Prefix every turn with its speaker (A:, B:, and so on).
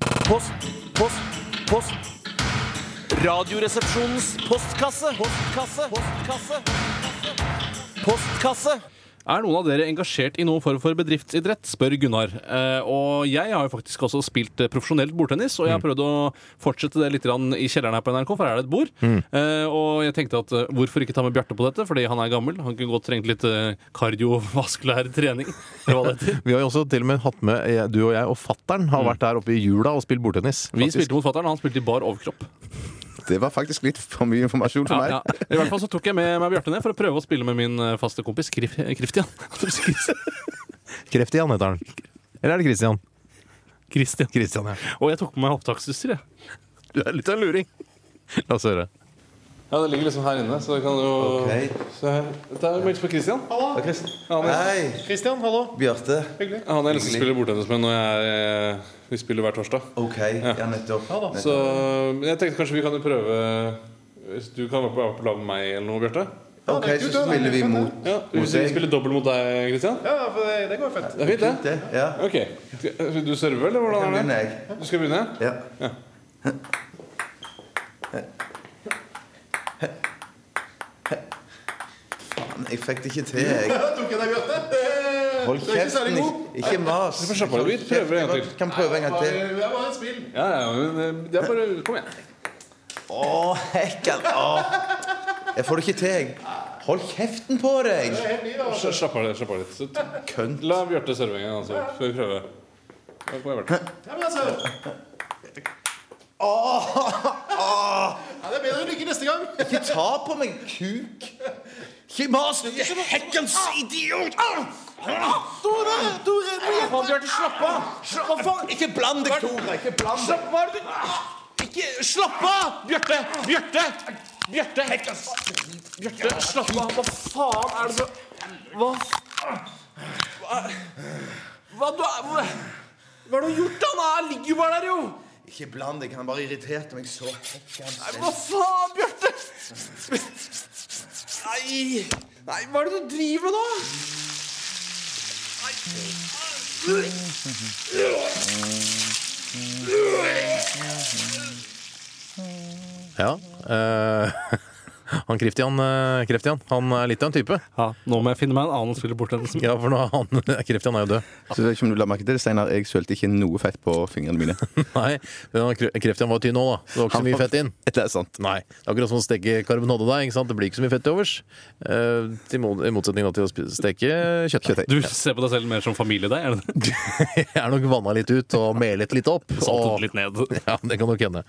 A: Post, post, post. Radioresepsjonens postkasse. Postkasse. Postkasse. Postkasse.
B: Er noen av dere engasjert i noen form for bedriftsidrett? spør Gunnar. Eh, og jeg har jo faktisk også spilt eh, profesjonelt bordtennis, og jeg har prøvd å fortsette det litt grann i kjelleren her på NRK, for her er det et bord. Eh, og jeg tenkte at eh, hvorfor ikke ta med Bjarte på dette, fordi han er gammel. Han kunne godt trengt litt eh, kardiovaskulær trening. eller hva det heter.
C: Vi har jo også til og med hatt med eh, du og jeg og fattern har vært der oppe i jula og spilt bordtennis.
B: Vi
C: faktisk.
B: spilte mot fatter'n, han spilte i bar overkropp.
D: Det var faktisk litt for mye informasjon for meg.
B: Ja, ja. I hvert fall så tok jeg med meg Bjarte ned for å prøve å spille med min eh, faste kompis Krif Kriftian.
C: Kreftian heter han. Eller er det Christian?
B: Kristian.
C: Christian, ja.
B: Og jeg tok med meg opptaksutstyr, jeg.
C: Du er litt av en luring. La oss høre.
B: Ja, det ligger liksom her inne, så det kan jo
E: Ok.
B: Se her. Dette er meldt på Kristian.
E: Hei,
C: Christian, hallo.
E: Bjarte.
B: Han jeg nesten spiller bordtennis med når jeg eh, Vi spiller hver torsdag.
E: Ok, ja, nettopp.
B: Så jeg tenkte kanskje vi kan jo prøve Hvis du kan være på, være på lag med meg eller noe, Bjarte.
E: Ok, så spiller vi mot
B: Ja, hvis vi
E: deg.
B: spiller dobbel mot deg, Kristian. Ja, for det, går jo fett. Det er
E: det.
B: fint, det.
E: Ja,
B: Ok. Skal du serve, eller
E: da
B: hvordan er det?
E: begynner jeg.
B: Du skal begynne?
E: Ja. Faen, Jeg fikk det ikke til, jeg. Hold kjeften. ikke- Ikke mas.
B: får slappe av litt. Vi prøver en gang til.
E: Kan prøve en gang til.
B: Ja, ja, men eh, det er bare Kom igjen.
E: Å, hekken. Å. Jeg får det ikke til, jeg. Hold kjeften på deg.
B: Sla- Slapp av litt. slapp av litt Så t-
E: Kønt.
B: La Bjarte serve en gang, altså. Skal vi prøve. Ja, altså. kom igjen, Bjarte. Ah!
E: Ikke ta på meg, kuk. Ikke mas. Du er hekkens idiot. Tore, Tore,
B: Faen, Bjarte, slapp av!
E: Hva faen? Ikke bland deg, Tore. Ikke bland deg.
B: Hva er det du Ikke Slapp av! Bjarte! Bjarte! Bjarte! Bjarte, slapp av! Hva faen er det så Hva Hva Hva du er Hva hva har du gjort? da? Han er- ligger jo bare der, jo!
E: Ikke bland deg. Han bare irriterte meg så.
B: Hva faen, Bjarte? Nei Nei, hva er det du driver med nå?
C: Ja. eh, han Kreftian, eh, Kreftian, han er litt av en type.
B: Ja, Nå må jeg finne meg en annen spiller bort enn
C: Ja, for nå er han Kreftian er jo død.
D: Så vet ikke om du la merke til det, Steinar. Jeg sølte ikke noe fett på fingrene mine.
C: Nei, men han Kre- Kreftian var tynn nå, da. Det var ikke så mye fett inn.
D: Det er sant.
C: Nei. Det er akkurat som å steke karbonade der. Ikke sant? Det blir ikke så mye fett til overs. Eh, til mo- I motsetning da til å spi- steke kjøttdeig.
B: Du ser på deg selv mer som familie, deg? Er det det?
C: Jeg er nok vanna litt ut og melet litt opp.
B: Saltet
C: Og,
B: litt ned.
C: ja, det kan nok hende.